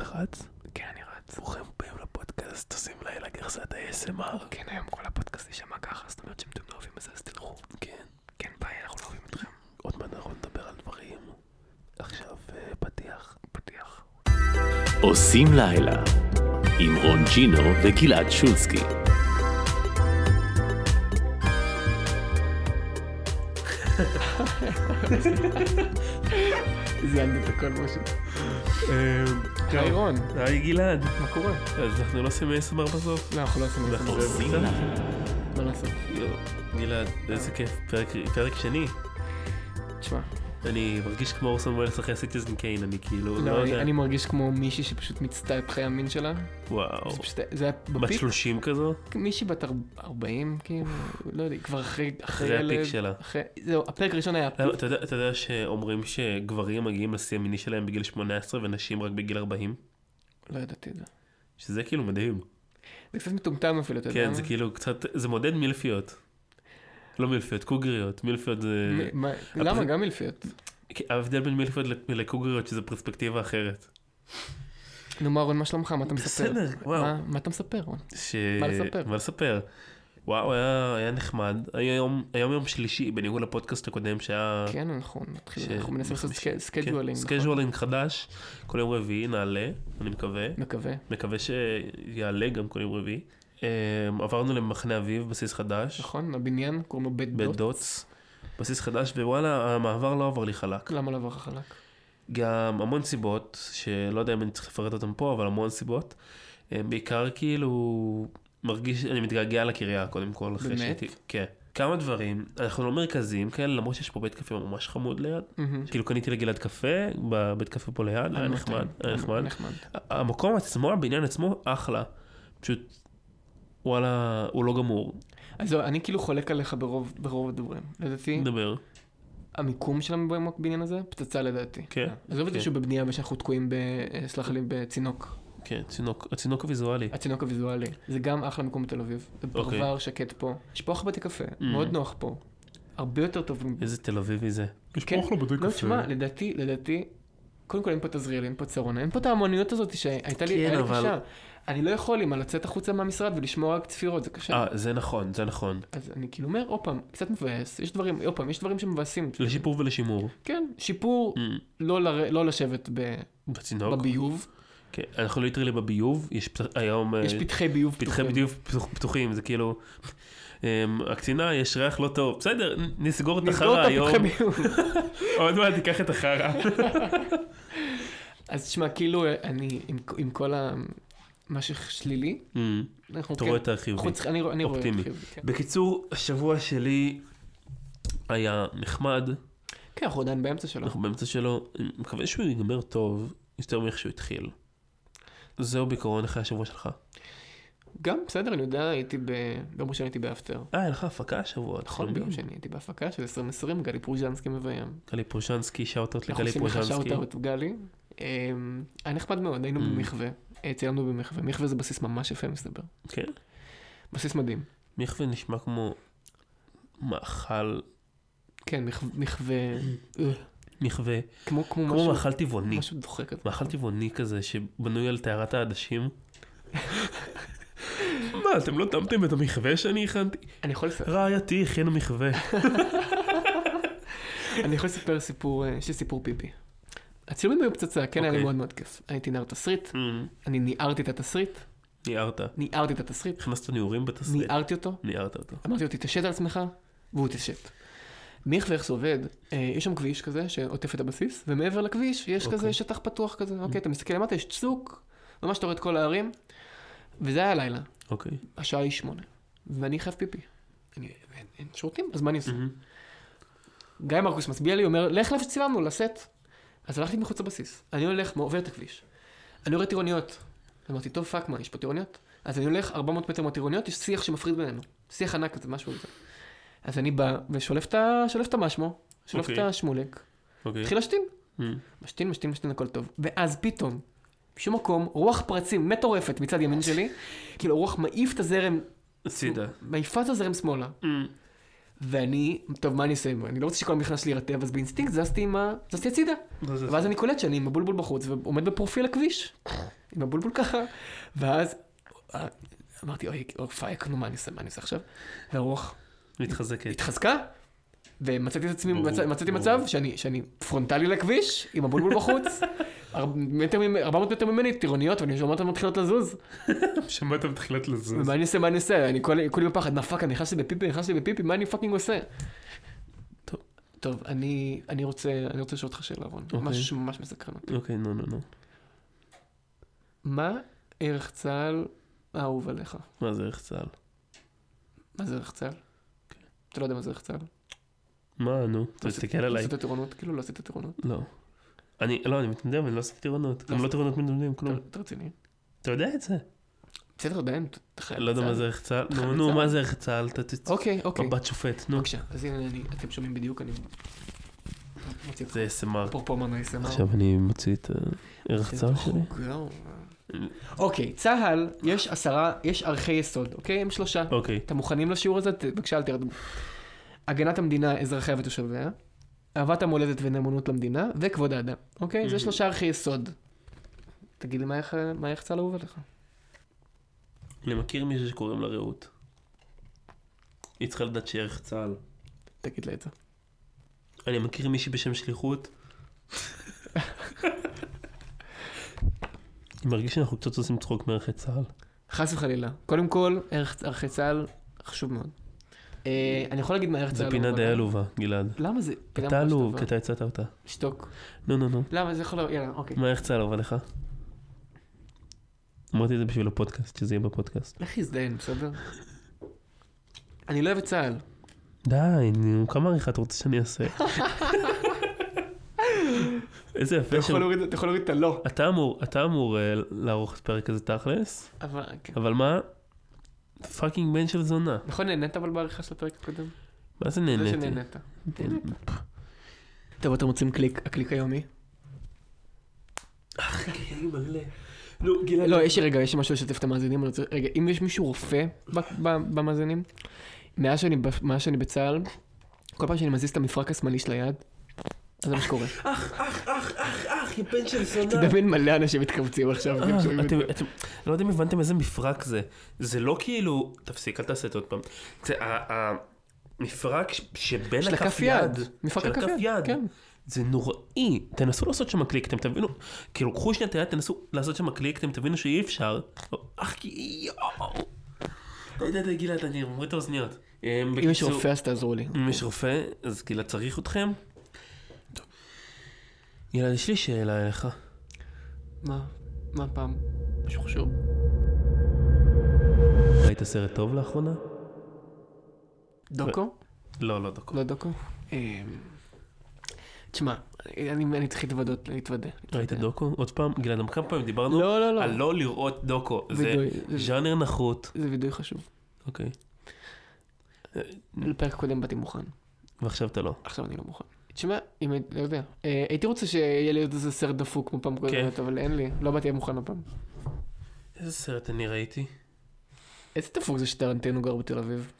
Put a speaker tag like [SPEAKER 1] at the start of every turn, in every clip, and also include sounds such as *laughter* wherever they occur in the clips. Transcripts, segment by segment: [SPEAKER 1] רץ?
[SPEAKER 2] כן, אני רץ.
[SPEAKER 1] ברוכים הבאים לפודקאסט, עושים לילה גרסת ה-SMR.
[SPEAKER 2] כן, היום כל הפודקאסט יישמע ככה, זאת אומרת שאם אתם לא אוהבים את זה, אז תלכו.
[SPEAKER 1] כן,
[SPEAKER 2] כן, ביי, אנחנו לא אוהבים אתכם.
[SPEAKER 1] עוד מעט אנחנו נדבר על דברים. עכשיו אה, פתיח.
[SPEAKER 2] פתיח.
[SPEAKER 3] עושים לילה, עם רון ג'ינו וגלעד שולסקי.
[SPEAKER 2] זיינתי את הכל משהו.
[SPEAKER 1] אה,
[SPEAKER 2] היי רון,
[SPEAKER 1] היי גלעד,
[SPEAKER 2] מה קורה?
[SPEAKER 1] אז אנחנו לא עושים ASMR בסוף?
[SPEAKER 2] לא, אנחנו לא עושים את
[SPEAKER 1] אנחנו
[SPEAKER 2] זה.
[SPEAKER 3] עושים לילה,
[SPEAKER 2] מה לעשות?
[SPEAKER 1] יואו, גלעד, איזה כיף, פרק- פרק שני.
[SPEAKER 2] תשמע,
[SPEAKER 1] אני מרגיש כמו אורסון ווילס אחרי סיטיזן קיין, אני כאילו, לא
[SPEAKER 2] לא, אני-
[SPEAKER 1] יודע.
[SPEAKER 2] אני מרגיש כמו מישהי שפשוט מיצתה את חיי המין שלה.
[SPEAKER 1] וואו.
[SPEAKER 2] זה פשוט, זה היה
[SPEAKER 1] בת
[SPEAKER 2] בפיק,
[SPEAKER 1] 30 כזו?
[SPEAKER 2] מישהי בת ארבע- 40, כאילו, לא יודע, כבר אחרי...
[SPEAKER 1] אחרי הפיק
[SPEAKER 2] הלב,
[SPEAKER 1] שלה.
[SPEAKER 2] אחרי- זהו, הפרק הראשון היה הפיק.
[SPEAKER 1] למה, אתה יודע- אתה יודע שאומרים שגברים מגיעים לשיא המיני שלהם בגיל 18 ונשים רק בגיל 40?
[SPEAKER 2] לא ידעתי את זה.
[SPEAKER 1] שזה כאילו מדהים.
[SPEAKER 2] זה קצת מטומטם אפילו, אתה יודע.
[SPEAKER 1] כן,
[SPEAKER 2] מה?
[SPEAKER 1] זה כאילו קצת, זה מודד מילפיות. לא מילפיות, קוגריות. מילפיות זה...
[SPEAKER 2] מ- מה- למה? גם מלפיות.
[SPEAKER 1] כי ההבדל בין מילפיות לקוגריות שזה פרספקטיבה אחרת.
[SPEAKER 2] נו, מה, רון, מה שלומך? מה אתה מספר?
[SPEAKER 1] בסדר, וואו.
[SPEAKER 2] מה- מה אתה מספר, רון?
[SPEAKER 1] ש...
[SPEAKER 2] מה לספר?
[SPEAKER 1] מה לספר? וואו, היה, היה נחמד. היום, היום יום שלישי, בניגוד לפודקאסט הקודם שהיה...
[SPEAKER 2] כן, נכון, נתחיל,
[SPEAKER 1] אה. ש- כן,
[SPEAKER 2] אנחנו מנסים לעשות
[SPEAKER 1] בחמישי.
[SPEAKER 2] סק- סקיידואלינג. נכון?
[SPEAKER 1] סקייג'ואלינג חדש. כל יום רביעי נעלה, אני מקווה.
[SPEAKER 2] מקווה.
[SPEAKER 1] מקווה שיעלה גם כל יום רביעי. אמ, עברנו למחנה אביב, בסיס חדש.
[SPEAKER 2] נכון, הבניין, קוראים לו בית
[SPEAKER 1] בית
[SPEAKER 2] דוט.
[SPEAKER 1] דוץ. בסיס חדש, ווואלה, המעבר לא עבר לי חלק.
[SPEAKER 2] למה לעבור לך חלק?
[SPEAKER 1] גם המון סיבות, שלא יודע אם אני צריך לפרט אותן פה, אבל המון סיבות. אה, בעיקר כאילו, מרגיש, אני מתגעגע לקריה קודם כל. אחרי
[SPEAKER 2] באמת?
[SPEAKER 1] שהייתי- כן. כמה דברים, אנחנו לא מרכזיים כאלה, למרות שיש פה בית קפה ממש חמוד ליד.
[SPEAKER 2] מהמם.
[SPEAKER 1] כאילו קניתי לגלעד קפה, בבית קפה פה ליד, היה
[SPEAKER 2] אני
[SPEAKER 1] אה, נחמד,
[SPEAKER 2] נותן.
[SPEAKER 1] היה נחמד.
[SPEAKER 2] נחמד.
[SPEAKER 1] המקום עצמו, הבניין עצמו, אחלה. פשוט, וואלה, הוא לא גמור.
[SPEAKER 2] אז זהו, אני כאילו חולק עליך ברוב ברוב הדברים. לדעתי,
[SPEAKER 1] נדבר.
[SPEAKER 2] המיקום של הבניין הזה, פצצה לדעתי.
[SPEAKER 1] כן,
[SPEAKER 2] עזוב את זה
[SPEAKER 1] כן.
[SPEAKER 2] שהוא בבנייה ושאנחנו תקועים ב... אה, סלח לי, בצינוק.
[SPEAKER 1] כן, צינוק, הצינוק הוויזואלי.
[SPEAKER 2] הצינוק הוויזואלי. זה גם אחלה מקום בתל אביב. זה
[SPEAKER 1] אוקיי. Mm.
[SPEAKER 2] פרבר שקט פה. יש פה אחלה בתי קפה, מאוד נוח פה. הרבה יותר טוב. מ-
[SPEAKER 1] איזה תל אביבי זה. יש
[SPEAKER 2] כן. לא, תשמע, לדעתי, לדעתי, קודם כל אין פה תזריל, אין פה צרונה, אין פה את ההמוניות הזאת שהייתה לי,
[SPEAKER 1] כן,
[SPEAKER 2] היה לי
[SPEAKER 1] אבל-
[SPEAKER 2] קשה. אני לא יכול עם הלצאת החוצה מהמשרד ולשמוע רק צפירות, זה קשה.
[SPEAKER 1] אה, זה נכון, זה נכון.
[SPEAKER 2] אז אני כאילו אומר, עוד פעם, קצת מבאס, יש דברים, עוד פעם, יש דברים שמבאסים.
[SPEAKER 1] לשיפור ולשימור.
[SPEAKER 2] כן, שיפור,
[SPEAKER 1] Mm,
[SPEAKER 2] לא ל- לא לשבת ב-
[SPEAKER 1] בצינוק.
[SPEAKER 2] בביוב,
[SPEAKER 1] כן, אנחנו ליטרלי בביוב, יש פת- היום... אה,
[SPEAKER 2] יש פתחי ביוב
[SPEAKER 1] פתחי
[SPEAKER 2] פתוחים.
[SPEAKER 1] ביוב פתוח- פתוחים, זה כאילו... אמ, הקצינה, יש ריח לא טוב. בסדר, נ- נסגור את
[SPEAKER 2] נסגור
[SPEAKER 1] החרא
[SPEAKER 2] את
[SPEAKER 1] היום.
[SPEAKER 2] הפתחי ביוב. *laughs*
[SPEAKER 1] עוד מעט תיקח את החרא.
[SPEAKER 2] אז תשמע, כאילו, אני, עם, עם כל ה... מה ששלילי,
[SPEAKER 1] אמ,
[SPEAKER 2] אנחנו כן-
[SPEAKER 1] אתה רואה את החיובי.
[SPEAKER 2] אנחנו צריכים, אני, רוא- אני רואה את
[SPEAKER 1] אופטימי.
[SPEAKER 2] החיובי, כן.
[SPEAKER 1] בקיצור, השבוע שלי היה נחמד,
[SPEAKER 2] כן, אנחנו עדיין באמצע שלו.
[SPEAKER 1] אנחנו באמצע שלו, אני מקווה שהוא ייגמר טוב יותר מאיך שהוא התחיל. זהו בעיקרון אחרי השבוע שלך.
[SPEAKER 2] גם, בסדר, אני יודע, הייתי ב... ביום ראשון הייתי באפטר.
[SPEAKER 1] אה, היה לך הפקה השבוע,
[SPEAKER 2] נכון, ביום שני הייתי בהפקה של 2020, גלי פרוז'נסקי מביים.
[SPEAKER 1] גלי פרושנסקי, שאוטות
[SPEAKER 2] אנחנו
[SPEAKER 1] לגלי
[SPEAKER 2] עושים לך
[SPEAKER 1] פרושנסקי.
[SPEAKER 2] שאוט-אאוט, גלי. אמ, היה נחמד מאוד, היינו
[SPEAKER 1] Mm.
[SPEAKER 2] במחווה, אה, צילמנו במחווה. מחווה זה בסיס ממש יפה, מסתבר.
[SPEAKER 1] כן.
[SPEAKER 2] בסיס מדהים.
[SPEAKER 1] מיכווה נשמע כמו מאכל,
[SPEAKER 2] כן, מחו- מחווה,
[SPEAKER 1] מיכווה,
[SPEAKER 2] כמו כמו
[SPEAKER 1] כמו
[SPEAKER 2] משהו-
[SPEAKER 1] מאכל טבעוני.
[SPEAKER 2] משהו דוחק. כזה.
[SPEAKER 1] מאכל טבעוני כזה שבנוי על
[SPEAKER 2] *laughs*
[SPEAKER 1] טהרת העדשים. מה, אתם לא טמתם את המכווה שאני הכנתי?
[SPEAKER 2] אני יכול לספר-
[SPEAKER 1] רעייתי הכינה
[SPEAKER 2] *laughs*
[SPEAKER 1] מכווה.
[SPEAKER 2] אני יכול לספר סיפור, אה, יש לי סיפור פיפי. הצילומים היו פצצה, כן, היה לי
[SPEAKER 1] אוקיי.
[SPEAKER 2] מאוד מאוד כיף. הייתי נער תסריט, אני ניערתי את התסריט,
[SPEAKER 1] אמ, ניערת.
[SPEAKER 2] ניערתי את התסריט,
[SPEAKER 1] הכנסת ניעורים בתסריט.
[SPEAKER 2] ניערתי אותו,
[SPEAKER 1] ניערת אותו.
[SPEAKER 2] אמרתי לו, תתעשת על עצמך, והוא תתעשת. מיך ואיך זה עובד, אה, יש שם כביש כזה שעוטף את הבסיס, ומעבר לכביש יש
[SPEAKER 1] אוקיי.
[SPEAKER 2] כזה שטח פתוח כזה, אוקיי, אתה מסתכל למטה, יש צוק, ממש אתה רואה את כל הערים, וזה היה לילה, *laughs*
[SPEAKER 1] אוקיי.
[SPEAKER 2] השעה היא שמונה, ואני חייב פיפי. אני, אין, אין שירותים, אז מה אני עושה? גיא מרקוס מצביע לי, אומר, לך לאיפה שצילמנו, לסט. אז הלכתי מחוץ לבסיס. אני הולך, עובר את הכביש. אני רואה טירוניות. אמרתי, טוב, פאק, מה, יש פה טירוניות? אז אני הולך 400 מטר מהטירוניות, יש שיח שמפריד בינינו. שיח ענק כזה, משהו כזה. אז אני בא ושולף את ה- שולף את המשמו, שולף את
[SPEAKER 1] אוקיי.
[SPEAKER 2] השמולק,
[SPEAKER 1] אוקיי.
[SPEAKER 2] התחיל להשתין.
[SPEAKER 1] אמ,
[SPEAKER 2] משתין, משתין, משתין, הכל טוב. ואז פתאום, בשום מקום, רוח פרצים מטורפת מצד ימין שלי, כאילו הרוח מעיף את הזרם,
[SPEAKER 1] הצידה.
[SPEAKER 2] מעיפה את הזרם שמאלה.
[SPEAKER 1] אמ,
[SPEAKER 2] ואני, טוב, מה אני אעשה? אני לא רוצה שכל המכנס שלי יירטב, אז באינסטינקט זזתי עם ה... זזתי הצידה. ואז אני קולט שאני עם הבולבול בחוץ ועומד בפרופיל הכביש. עם הבולבול ככה, ואז אה, אמרתי, אוי, פייק, נו, מה אני עושה, מה אני עושה עכשיו? והרוח
[SPEAKER 1] מתחזקת.
[SPEAKER 2] התחזקה, ומצאתי את עצמי,
[SPEAKER 1] ברור,
[SPEAKER 2] מצא- מצאתי
[SPEAKER 1] ברור.
[SPEAKER 2] מצב שאני, שאני פרונטלי לכביש, עם הבולבול בחוץ, אר- מטר ממ- 400 מטר ממני, טירוניות, ואני שומע אותן מתחילות לזוז.
[SPEAKER 1] שמעת מתחילת לזוז.
[SPEAKER 2] ומה אני עושה, מה אני עושה? אני כל- כולי בפחד, מה פאק, אני נכנס לי בפיפי, נכנס לי בפיפי, מה אני פאקינג עושה? טוב, טוב, אני אני רוצה אני רוצה לשאול אותך שאלה, רון,
[SPEAKER 1] אוקיי.
[SPEAKER 2] משהו שממש מסקרן אותי.
[SPEAKER 1] אוקיי, נו, נו, נו.
[SPEAKER 2] מה ערך צה"ל האהוב עליך?
[SPEAKER 1] מה זה ערך צה"ל?
[SPEAKER 2] מה זה ערך צה"ל? אתה לא יודע מה זה ערך צה"ל?
[SPEAKER 1] מה, נו? אתה
[SPEAKER 2] עשית-
[SPEAKER 1] מסתכל עליי.
[SPEAKER 2] עשית טירונות? כאילו לא עשית טירונות?
[SPEAKER 1] לא. אני, לא, אני מתנדב, אני לא עשיתי טירונות. גם לא טירונות מתנדבים, כלום.
[SPEAKER 2] אתה- אתה רציני?
[SPEAKER 1] אתה יודע את זה.
[SPEAKER 2] בסדר, עדיין, אתה- אתה חייל
[SPEAKER 1] לא יודע מה
[SPEAKER 2] צה"ל.
[SPEAKER 1] זה ערך צה"ל.
[SPEAKER 2] חייל
[SPEAKER 1] נו, נו,
[SPEAKER 2] צה"ל.
[SPEAKER 1] מה זה ערך צה"ל? אתה תצא.
[SPEAKER 2] אוקיי, אוקיי.
[SPEAKER 1] מבט שופט, נו.
[SPEAKER 2] בבקשה, אז הנה אני, אתם שומעים בדיוק, אני מוציא אותך.
[SPEAKER 1] זה SMR.
[SPEAKER 2] אפרופו אמרנו ASMR.
[SPEAKER 1] עכשיו אני מוציא את הערך צה"ל שלי.
[SPEAKER 2] לא. אוקיי, צה"ל, יש עשרה, יש ערכי יסוד, אוקיי? הם שלושה.
[SPEAKER 1] אוקיי.
[SPEAKER 2] אתם מוכנים לשיעור הזה? ת- בבקשה, אל תרדמו. הגנת המדינה, אזרחיה ותושביה, אהבת המולדת ונאמנות למדינה, וכבוד האדם, אוקיי? זה שלושה ערכי יסוד. תגיד לי, מה איך- מה איך צה"ל אהוב עליך?
[SPEAKER 1] אני מכיר מישהו שקוראים לה רעות. היא צריכה לדעת שערך צה"ל.
[SPEAKER 2] תגיד לה את זה.
[SPEAKER 1] אני מכיר מישהי בשם
[SPEAKER 2] *laughs*
[SPEAKER 1] שליחות. אני מרגיש שאנחנו קצת עושים צחוק מערכי צה"ל.
[SPEAKER 2] חס וחלילה. קודם כל, ערך- ערכי צה"ל חשוב מאוד. אה, אני יכול להגיד מה ערך צה"ל
[SPEAKER 1] זו
[SPEAKER 2] אהוב
[SPEAKER 1] פינה די
[SPEAKER 2] עליי?
[SPEAKER 1] עלובה, גלעד.
[SPEAKER 2] למה זה? פינה
[SPEAKER 1] אתה
[SPEAKER 2] ממש
[SPEAKER 1] עלוב,
[SPEAKER 2] טובה.
[SPEAKER 1] כי אתה הצעת אותה.
[SPEAKER 2] שתוק.
[SPEAKER 1] נו, נו, נו.
[SPEAKER 2] למה זה יכול להיות? יאללה, אוקיי.
[SPEAKER 1] מה ערך צה"ל עובד לך? אמרתי את זה בשביל הפודקאסט, שזה יהיה בפודקאסט.
[SPEAKER 2] לך תזדיין, בסדר? אני לא אוהב את צה"ל.
[SPEAKER 1] די, נו, כמה עריכה אתה רוצה שאני
[SPEAKER 2] *laughs*
[SPEAKER 1] אעשה? איזה
[SPEAKER 2] אתה
[SPEAKER 1] יפה
[SPEAKER 2] לא יכול
[SPEAKER 1] שם.
[SPEAKER 2] להוריד- אתה יכול להוריד את הלא.
[SPEAKER 1] אתה אמור, אתה אמור אה, לערוך את הפרק הזה תכלס,
[SPEAKER 2] אבל, כן.
[SPEAKER 1] אבל מה? פאקינג בן של זונה.
[SPEAKER 2] נכון, נהנית אבל בעריכה של הפרק הקודם?
[SPEAKER 1] מה זה
[SPEAKER 2] זה
[SPEAKER 1] נהניתי? כן.
[SPEAKER 2] שנהנית. טוב, אתם רוצים קליק, הקליק היומי?
[SPEAKER 1] נו, גלעד.
[SPEAKER 2] לא, יש לי רגע, יש לי משהו לשתף את המאזינים. אני רוצה- רגע, אם יש מישהו רופא ב- ב- במאזינים, מאז שאני ב- מאז שאני בצה"ל, כל פעם שאני מזיז את המפרק השמאלי של היד, אז זה מה *laughs* שקורה.
[SPEAKER 1] אח, יא בן של זונה.
[SPEAKER 2] תדמיין מלא אנשים מתכווצים עכשיו. כי הם שומעים את
[SPEAKER 1] אה, אתם,
[SPEAKER 2] זה.
[SPEAKER 1] אתם, לא יודע אם הבנתם איזה מפרק זה. זה לא כאילו, תפסיק, אל תעשה את זה עוד פעם. זה ה- ה- המפרק ש- שבין
[SPEAKER 2] של
[SPEAKER 1] הכף יד,
[SPEAKER 2] מפרק
[SPEAKER 1] של
[SPEAKER 2] הכף
[SPEAKER 1] הכף
[SPEAKER 2] יד. כן.
[SPEAKER 1] זה נוראי. תנסו לעשות שם קליק, אתם תבינו, כאילו, קחו שנייה את היד, תנסו לעשות שם קליק, אתם תבינו שאי אפשר. אך כי יואו. לא יודע, די, גלעד, אני מוריד את האוזניות. אה,
[SPEAKER 2] אם יש
[SPEAKER 1] בקיצור,
[SPEAKER 2] רופא אז תעזרו לי.
[SPEAKER 1] אם יש רופא, אז גלעד צריך אתכם. גלעד, יש לי שאלה אליך.
[SPEAKER 2] מה? מה פעם? משהו חשוב.
[SPEAKER 1] ראית סרט טוב לאחרונה?
[SPEAKER 2] דוקו?
[SPEAKER 1] לא, לא דוקו.
[SPEAKER 2] לא דוקו? אמ, תשמע, אני אני צריך להתוודות, להתוודה.
[SPEAKER 1] ראית דוקו? עוד פעם? גלעד, כמה פעמים דיברנו
[SPEAKER 2] כן. לא, לא, לא.
[SPEAKER 1] על לא לראות דוקו. זה
[SPEAKER 2] וידוי, זה-
[SPEAKER 1] ז'אנר נחות.
[SPEAKER 2] זה וידוי חשוב.
[SPEAKER 1] אוקיי.
[SPEAKER 2] לפרק הקודם באתי מוכן,
[SPEAKER 1] ועכשיו אתה לא.
[SPEAKER 2] עכשיו אני לא מוכן. תשמע, אם הייתי, לא יודע. אה, הייתי רוצה שיהיה לי עוד איזה סרט דפוק כמו פעם קודמת, אבל אין לי, לא באתי מוכן הפעם.
[SPEAKER 1] איזה סרט אני ראיתי?
[SPEAKER 2] איזה דפוק זה שטרנטינו גר בתל אביב?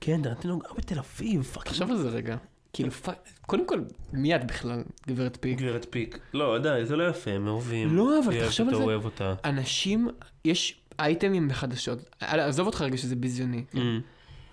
[SPEAKER 1] כן, דרנטינו גר בתל אביב. פאק.
[SPEAKER 2] תחשוב על זה רגע. כאילו, פאק- קודם כל, מיד בכלל, גברת פיג.
[SPEAKER 1] גברת פיק. לא, די, זה לא יפה, הם אהובים.
[SPEAKER 2] לא, אבל
[SPEAKER 1] היא אוהבת
[SPEAKER 2] תחשוב על
[SPEAKER 1] אותו,
[SPEAKER 2] זה.
[SPEAKER 1] הוא אוהב אותה. יש
[SPEAKER 2] אנשים, יש אייטמים בחדשות. אה, עזוב אותך רגע שזה ביזיוני.
[SPEAKER 1] Mm.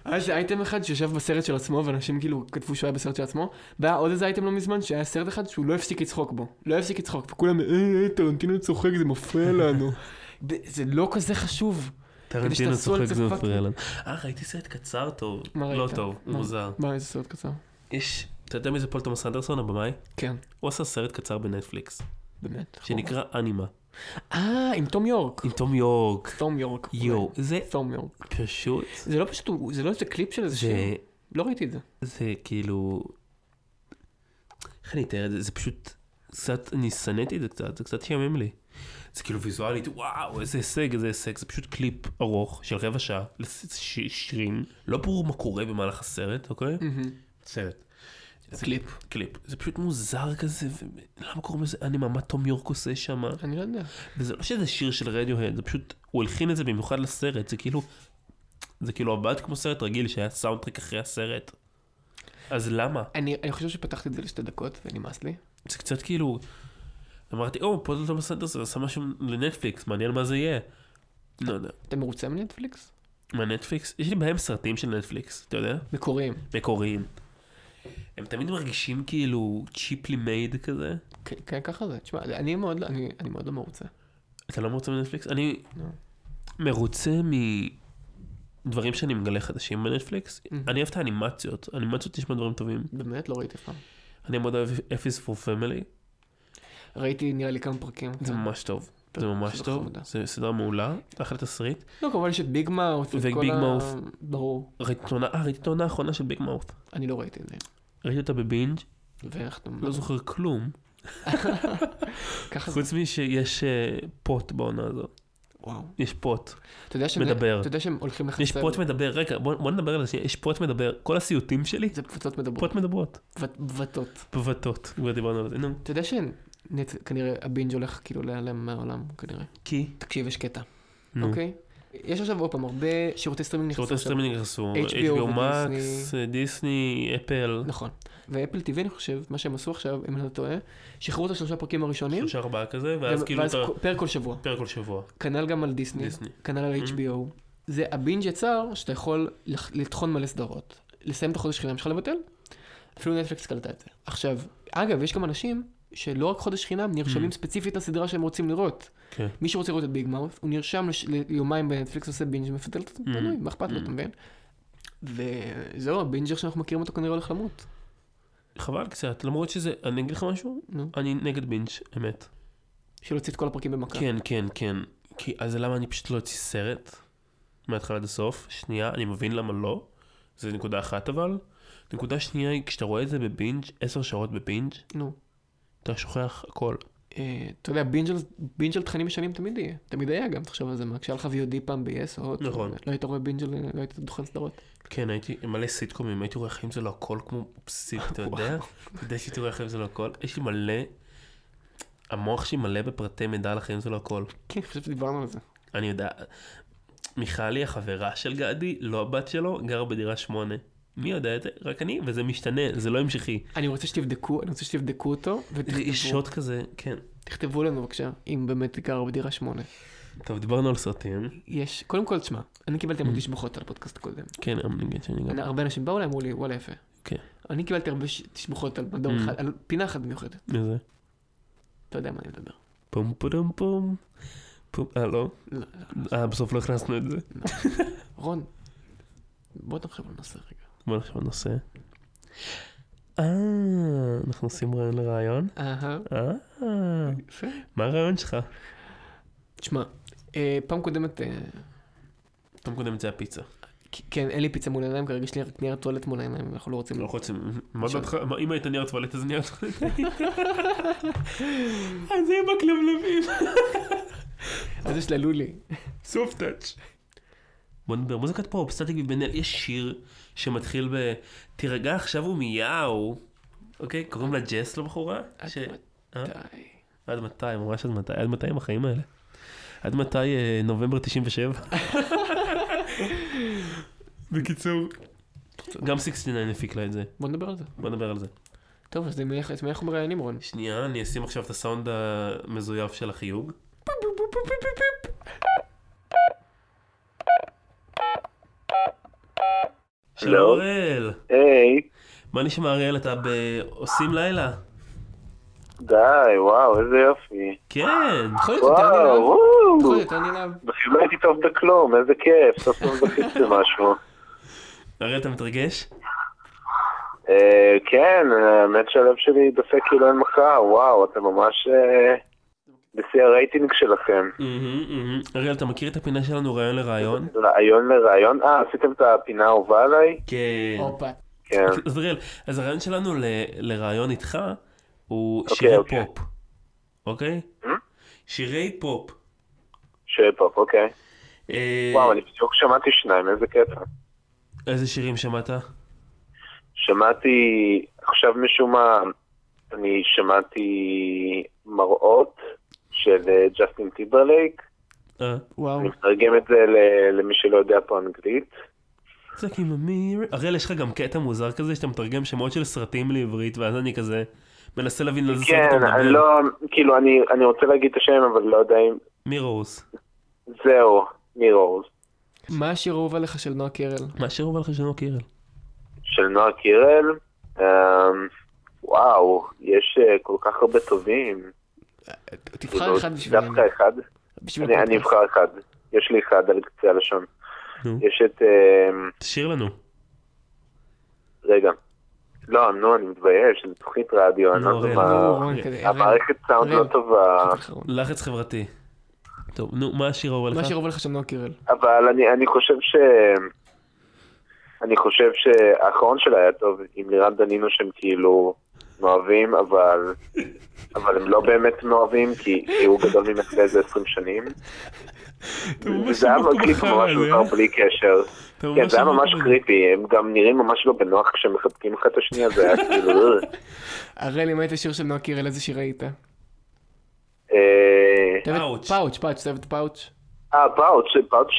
[SPEAKER 2] היה איזה אייטם אחד שישב בסרט של עצמו, ואנשים כאילו כתבו שהוא היה בסרט של עצמו, והיה עוד איזה אייטם לא מזמן, שהיה סרט אחד שהוא לא הפסיק לצחוק בו. לא הפסיק לצחוק, וכולם, אה, אה, טרנטינו צוחק, זה מפריע לנו. *laughs* ב- זה לא כזה חשוב. כדי
[SPEAKER 1] טרנטינו
[SPEAKER 2] שתעשו על
[SPEAKER 1] צוחק
[SPEAKER 2] זה
[SPEAKER 1] זה
[SPEAKER 2] פאק-
[SPEAKER 1] מפריע לנו. אה, ראיתי סרט קצר טוב.
[SPEAKER 2] מה ראית?
[SPEAKER 1] לא טוב,
[SPEAKER 2] מה?
[SPEAKER 1] מוזר.
[SPEAKER 2] מה, איזה סרט קצר?
[SPEAKER 1] יש, אתה יודע מי זה פול תומאס אנדרסון הבמאי?
[SPEAKER 2] כן,
[SPEAKER 1] הוא עשה סרט קצר בנטפליקס,
[SPEAKER 2] באמת.
[SPEAKER 1] שנקרא אנימה,
[SPEAKER 2] אה, עם תום יורק.
[SPEAKER 1] עם תום יורק.
[SPEAKER 2] תום יורק. אוקיי.
[SPEAKER 1] יואו, זה
[SPEAKER 2] תום יורק.
[SPEAKER 1] פשוט,
[SPEAKER 2] זה לא פשוט, הוא- זה לא איזה קליפ של איזה שיר.
[SPEAKER 1] זה,
[SPEAKER 2] לא ראיתי את זה.
[SPEAKER 1] זה כאילו, איך אני אתאר את זה? זה פשוט, קצת, אני שנאתי את זה קצת, זה קצת שיאמם לי. זה כאילו ויזואלית, וואו, איזה הישג, איזה הישג, זה פשוט קליפ ארוך של רבע שעה, לשירים, לא ברור מה קורה במהלך הסרט, אוקיי? סרט. זה
[SPEAKER 2] קליפ.
[SPEAKER 1] קליפ. זה פשוט מוזר כזה, ולמה קוראים לזה אנימה? מה תום יורק עושה שם?
[SPEAKER 2] אני לא יודע.
[SPEAKER 1] וזה לא שזה שיר של רדיוהד, זה פשוט, הוא הלחין את זה במיוחד לסרט, זה כאילו, זה כאילו עבד כמו סרט רגיל שהיה סאונדטרק אחרי הסרט. אז למה?
[SPEAKER 2] אני אני חושב שפתחתי את זה לשתי דקות, ונמאס לי.
[SPEAKER 1] זה קצת כאילו, אמרתי, או, פה זה תומאס אנדרסון עשה משהו לנטפליקס, מעניין מה זה יהיה. לא יודע.
[SPEAKER 2] אתה מרוצה מנטפליקס?
[SPEAKER 1] מה, נטפליקס? יש לי בהם סרטים של נטפליקס, אתה יודע?
[SPEAKER 2] מקוריים.
[SPEAKER 1] מקוריים. הם תמיד מרגישים כאילו צ'יפלי מייד כזה.
[SPEAKER 2] כן, כן, ככה זה. תשמע, אני מאוד לא- אני אני מאוד לא מרוצה.
[SPEAKER 1] אתה לא מרוצה מנטפליקס? אני
[SPEAKER 2] לא.
[SPEAKER 1] מרוצה מדברים שאני מגלה חדשים בנטפליקס. אני אוהב את האנימציות, אנימציות יש בה דברים טובים.
[SPEAKER 2] באמת? לא ראיתי אף פעם.
[SPEAKER 1] אני מאוד אוהב אפיס פור פמילי,
[SPEAKER 2] ראיתי נראה לי כמה פרקים. כן.
[SPEAKER 1] זה ממש טוב. זה ממש
[SPEAKER 2] סדרה
[SPEAKER 1] טוב,
[SPEAKER 2] חמודה.
[SPEAKER 1] זה סדרה מעולה, אחלה תסריט.
[SPEAKER 2] לא, כמובן יש את ביג מאוף. את
[SPEAKER 1] וביג
[SPEAKER 2] כל ה-
[SPEAKER 1] מאוף.
[SPEAKER 2] ברור.
[SPEAKER 1] ראיתי את העונה- אה, ראיתי את העונה האחרונה של ביג מאוף.
[SPEAKER 2] אני לא ראיתי את זה.
[SPEAKER 1] ראיתי אותה בבינג',
[SPEAKER 2] ואיך אתה...
[SPEAKER 1] לא זוכר כלום,
[SPEAKER 2] ככה זה.
[SPEAKER 1] חוץ משיש אה, פוט בעונה הזו.
[SPEAKER 2] וואו.
[SPEAKER 1] יש פוט.
[SPEAKER 2] אתה יודע שהם...
[SPEAKER 1] מדבר.
[SPEAKER 2] אתה יודע שהם הולכים לחצר.
[SPEAKER 1] יש פוט מדבר, רגע, בוא בוא נדבר על זה, שנייה. יש פוט מדבר, כל הסיוטים שלי,
[SPEAKER 2] זה פצצות מדברות.
[SPEAKER 1] פוט מדברות.
[SPEAKER 2] בת- בבתות.
[SPEAKER 1] בבתות, כבר דיברנו על זה, נו.
[SPEAKER 2] אתה יודע שכנראה הבינג' הולך כאילו להיעלם מהעולם, כנראה.
[SPEAKER 1] כי?
[SPEAKER 2] תקשיב, יש קטע,
[SPEAKER 1] נו.
[SPEAKER 2] אוקיי? יש עכשיו עוד פעם הרבה שירותי סטרימינג נכנסו
[SPEAKER 1] שירותי
[SPEAKER 2] עכשיו.
[SPEAKER 1] סטרימינג נכנסו,
[SPEAKER 2] HBO
[SPEAKER 1] HBO Max, אה,
[SPEAKER 2] ודיסני.
[SPEAKER 1] דיסני, אפל,
[SPEAKER 2] נכון. ואפל TV, אני חושב, מה שהם עשו עכשיו, אם אני לא טועה, שחררו את השלושה פרקים הראשונים,
[SPEAKER 1] שלושה ארבעה כזה, ואז
[SPEAKER 2] ואז
[SPEAKER 1] כאילו אתה
[SPEAKER 2] פרק כל שבוע.
[SPEAKER 1] פרק כל שבוע,
[SPEAKER 2] כנ"ל גם על דיסני,
[SPEAKER 1] דיסני.
[SPEAKER 2] כנ"ל על
[SPEAKER 1] Mm-hmm.
[SPEAKER 2] HBO. זה הבינג' יצר שאתה יכול לח- לטחון מלא סדרות. לסיים את החודש חינם שלך לבטל. אפילו נטפליקס קלטה את זה. עכשיו, אגב, יש גם אנשים שלא רק חודש חינם, נרשמים ספציפית לסדרה שהם רוצים לראות.
[SPEAKER 1] Mm-hmm. כן.
[SPEAKER 2] מי שרוצה לראות את ביג מאוף, הוא נרשם לש... ליומיים בנטפליקס, עושה בינג' ומפתל את
[SPEAKER 1] Mm-hmm.
[SPEAKER 2] הפנוי, מה אכפת לו, אתה מבין? וזהו, הבינג'ר שאנחנו מכירים אותו כנראה הולך למות.
[SPEAKER 1] חבל קצת, למרות שזה, אני אגיד לך משהו?
[SPEAKER 2] נו.
[SPEAKER 1] אני נגד בינג', אמת.
[SPEAKER 2] של להוציא את כל הפרקים במכה.
[SPEAKER 1] כן, כן, כן. כי אז למה אני פשוט לא אוציא סרט? מההתחלה עד הסוף. שנייה, אני מבין למה לא. זו נקודה אחת אבל. נקודה שנייה היא, כשאתה רואה את זה בבינג', עשר שעות בבינג',
[SPEAKER 2] נו.
[SPEAKER 1] אתה שוכח הכל.
[SPEAKER 2] אה, אתה יודע, בינג' על- בינג' על תכנים ישנים תמיד יהיה. תמיד היה גם, תחשוב על זה, מה, כשהיה לך VOD פעם ב-yes או... הוט,
[SPEAKER 1] נכון.
[SPEAKER 2] לא היית רואה בינג' על... לא היית דוכן סדרות.
[SPEAKER 1] כן, הייתי מלא סיטקומים, הייתי רואה חיים זה לא הכל כמו אובססיבי, אתה יודע? אתה יודע שהייתי רואה חיים זה לא הכל? יש לי מלא, המוח שלי מלא בפרטי מידע על החיים זה לא הכל.
[SPEAKER 2] כן, אני חושב שדיברנו על זה.
[SPEAKER 1] אני יודע, מיכלי, החברה של גדי, לא הבת שלו, גרה בדירה שמונה. מי יודע את זה? רק אני, וזה משתנה, זה לא המשכי.
[SPEAKER 2] אני רוצה שתבדקו, אני רוצה שתבדקו אותו,
[SPEAKER 1] זה
[SPEAKER 2] ותכתבו
[SPEAKER 1] שוט כזה, כן.
[SPEAKER 2] תכתבו לנו בבקשה, אם באמת גר בדירה שמונה.
[SPEAKER 1] טוב, דיברנו על סרטים.
[SPEAKER 2] יש, קודם כל, תשמע, אני קיבלתי
[SPEAKER 1] Mm.
[SPEAKER 2] המון תשבחות על הפודקאסט הקודם.
[SPEAKER 1] כן, אני אגיד שאני גם...
[SPEAKER 2] אני- הרבה אנשים באו אליי, אמרו לי, וואלה יפה.
[SPEAKER 1] כן. Mm.
[SPEAKER 2] אני קיבלתי הרבה ש- תשבחות על מדור אחד, על פינה אחת מיוחדת.
[SPEAKER 1] מי זה?
[SPEAKER 2] אתה יודע מה אני מדבר.
[SPEAKER 1] פום פום פום. פום, אה, לא?
[SPEAKER 2] לא,
[SPEAKER 1] אה, בסוף לא הכנסנו את זה.
[SPEAKER 2] רון, בוא נחשוב על נושא רגע.
[SPEAKER 1] בוא נחשוב על נושא. אה, אנחנו עושים רעיון לרעיון?
[SPEAKER 2] אהה,
[SPEAKER 1] אה,
[SPEAKER 2] יפה.
[SPEAKER 1] מה הרעיון שלך?
[SPEAKER 2] תשמע, אה, פעם קודמת, אה,
[SPEAKER 1] פעם קודמת זה הפיצה.
[SPEAKER 2] כ- כן, אין לי פיצה מול העיניים, כרגע יש לי רק נייר טואלט מול העיניים, אנחנו לא רוצים...
[SPEAKER 1] לא רוצים, מה דעתך, מה, אם היית נייר טואלט אז נייר טואלט. אז זה עם הכלבלבים.
[SPEAKER 2] *laughs* אז יש ללולי.
[SPEAKER 1] סוף טאץ'. בוא נדבר מוזיקת פופ, סטטיק ובן אל, יש שיר שמתחיל ב... תירגע עכשיו הוא מיהו. אוקיי, קוראים לה ג'ס לבחורה? ש- אה?
[SPEAKER 2] די.
[SPEAKER 1] עד מתי, ממש עד מתי, עד מתי עם החיים האלה? עד מתי אה, נובמבר 97? בקיצור, גם 69 הפיק לה את זה,
[SPEAKER 2] בוא נדבר על זה.
[SPEAKER 1] בוא נדבר על זה.
[SPEAKER 2] טוב, אז מי את מי אנחנו מראיינים, רון?
[SPEAKER 1] שנייה, אני אשים עכשיו את הסאונד המזויף של החיוג. שלום
[SPEAKER 4] הלו?
[SPEAKER 1] אריאל,
[SPEAKER 4] היי,
[SPEAKER 1] מה נשמע אריאל, אתה בעושים לילה?
[SPEAKER 4] די, וואו, איזה יופי.
[SPEAKER 1] כן,
[SPEAKER 2] יכול להיות יותר
[SPEAKER 4] וואו,
[SPEAKER 2] נלהב? יכול
[SPEAKER 4] וואו.
[SPEAKER 2] להיות יותר נלהב?
[SPEAKER 4] אפילו לא הייתי טוב בכלום, איזה כיף, סוף סוף זכיתי למשהו.
[SPEAKER 1] אריאל אתה מתרגש?
[SPEAKER 4] אה, כן, האמת שהלב שלי דופק כאילו אין מחר, וואו, אתם ממש אה, בשיא הרייטינג שלכם.
[SPEAKER 1] מהמם, מהמם. אריאל אתה מכיר את הפינה שלנו רעיון לרעיון?
[SPEAKER 4] רעיון לרעיון, אה, עשיתם את הפינה האהובה עליי?
[SPEAKER 1] כן.
[SPEAKER 2] הופה.
[SPEAKER 4] כן.
[SPEAKER 1] אז אריאל, אז הרעיון שלנו ל- לרעיון איתך הוא
[SPEAKER 4] אוקיי,
[SPEAKER 1] שירי
[SPEAKER 4] אוקיי.
[SPEAKER 1] פופ, אוקיי? שירי פופ.
[SPEAKER 4] שפופ, אוקיי.
[SPEAKER 1] אה,
[SPEAKER 4] וואו, אני בדיוק שמעתי שניים, איזה קטע.
[SPEAKER 1] איזה שירים שמעת?
[SPEAKER 4] שמעתי, עכשיו משום מה, אני שמעתי מראות של אה, ג'סטין טיברלייק.
[SPEAKER 1] אה,
[SPEAKER 4] *laughs*
[SPEAKER 2] וואו.
[SPEAKER 4] אני מתרגם את זה ל- למי שלא יודע פה אנגלית.
[SPEAKER 1] צועק עם אמיר. אריאל, יש לך גם קטע מוזר כזה שאתה מתרגם שמות של סרטים לעברית, ואז אני כזה מנסה להבין על זה
[SPEAKER 4] כן,
[SPEAKER 1] אתה מדבר.
[SPEAKER 4] אני לא, כאילו, אני, אני רוצה להגיד את השם, אבל לא יודע אם...
[SPEAKER 1] מירוס.
[SPEAKER 4] זהו, ניר אורז.
[SPEAKER 2] מה השיר האהוב עליך של נועה קירל?
[SPEAKER 1] מה לא השיר הובא לך של נועה קירל?
[SPEAKER 4] של נועה קירל. אמ, וואו, יש אה, כל כך הרבה טובים. כאילו,
[SPEAKER 2] תבחר אחד בשבילנו.
[SPEAKER 4] דווקא אחד.
[SPEAKER 2] בשביל
[SPEAKER 4] לא, אני, אני
[SPEAKER 2] הפודקאסט.
[SPEAKER 4] אבחר אחד. יש לי אחד על קצה הלשון.
[SPEAKER 1] נו,
[SPEAKER 4] יש את... אמ,
[SPEAKER 1] תשאיר לנו.
[SPEAKER 4] רגע. לא, נו, אני מתבייש, זו תוכנית רדיו, אני
[SPEAKER 1] נו,
[SPEAKER 4] לא יודע
[SPEAKER 1] אראל,
[SPEAKER 2] נו,
[SPEAKER 4] מה...
[SPEAKER 2] רון,
[SPEAKER 1] אה,
[SPEAKER 2] כזה,
[SPEAKER 4] המערכת סאונד
[SPEAKER 2] אראל.
[SPEAKER 4] לא טובה,
[SPEAKER 2] אראל, אחרון.
[SPEAKER 1] לחץ חברתי. טוב, נו, מה השיר הובא לך?
[SPEAKER 2] מה השיר האהוב עליך של נועה קירל?
[SPEAKER 4] אבל אני, אני חושב ש... אני חושב שהאחרון שלה היה טוב עם לירן דנינו שהם כאילו מאוהבים, אבל... אבל הם לא באמת מאוהבים, כי, כי הוא גדול ממך באיזה 20 שנים. וזה היה מקליק ממש מוזר בלי קשר. כן, זה היה ממש קריפי, הם גם נראים ממש לא בנוח כשהם מחבקים אחד את השנייה, זה היה כאילו...
[SPEAKER 2] הראל, אם היית שיר של נועה קירל, איזה שיר היית?
[SPEAKER 4] אה,
[SPEAKER 2] אתה אוהב את פאוץ',
[SPEAKER 1] פאוץ'.
[SPEAKER 2] פאוץ', אתה אוהב את פאוץ'.
[SPEAKER 4] אה, פאוץ', פאוץ'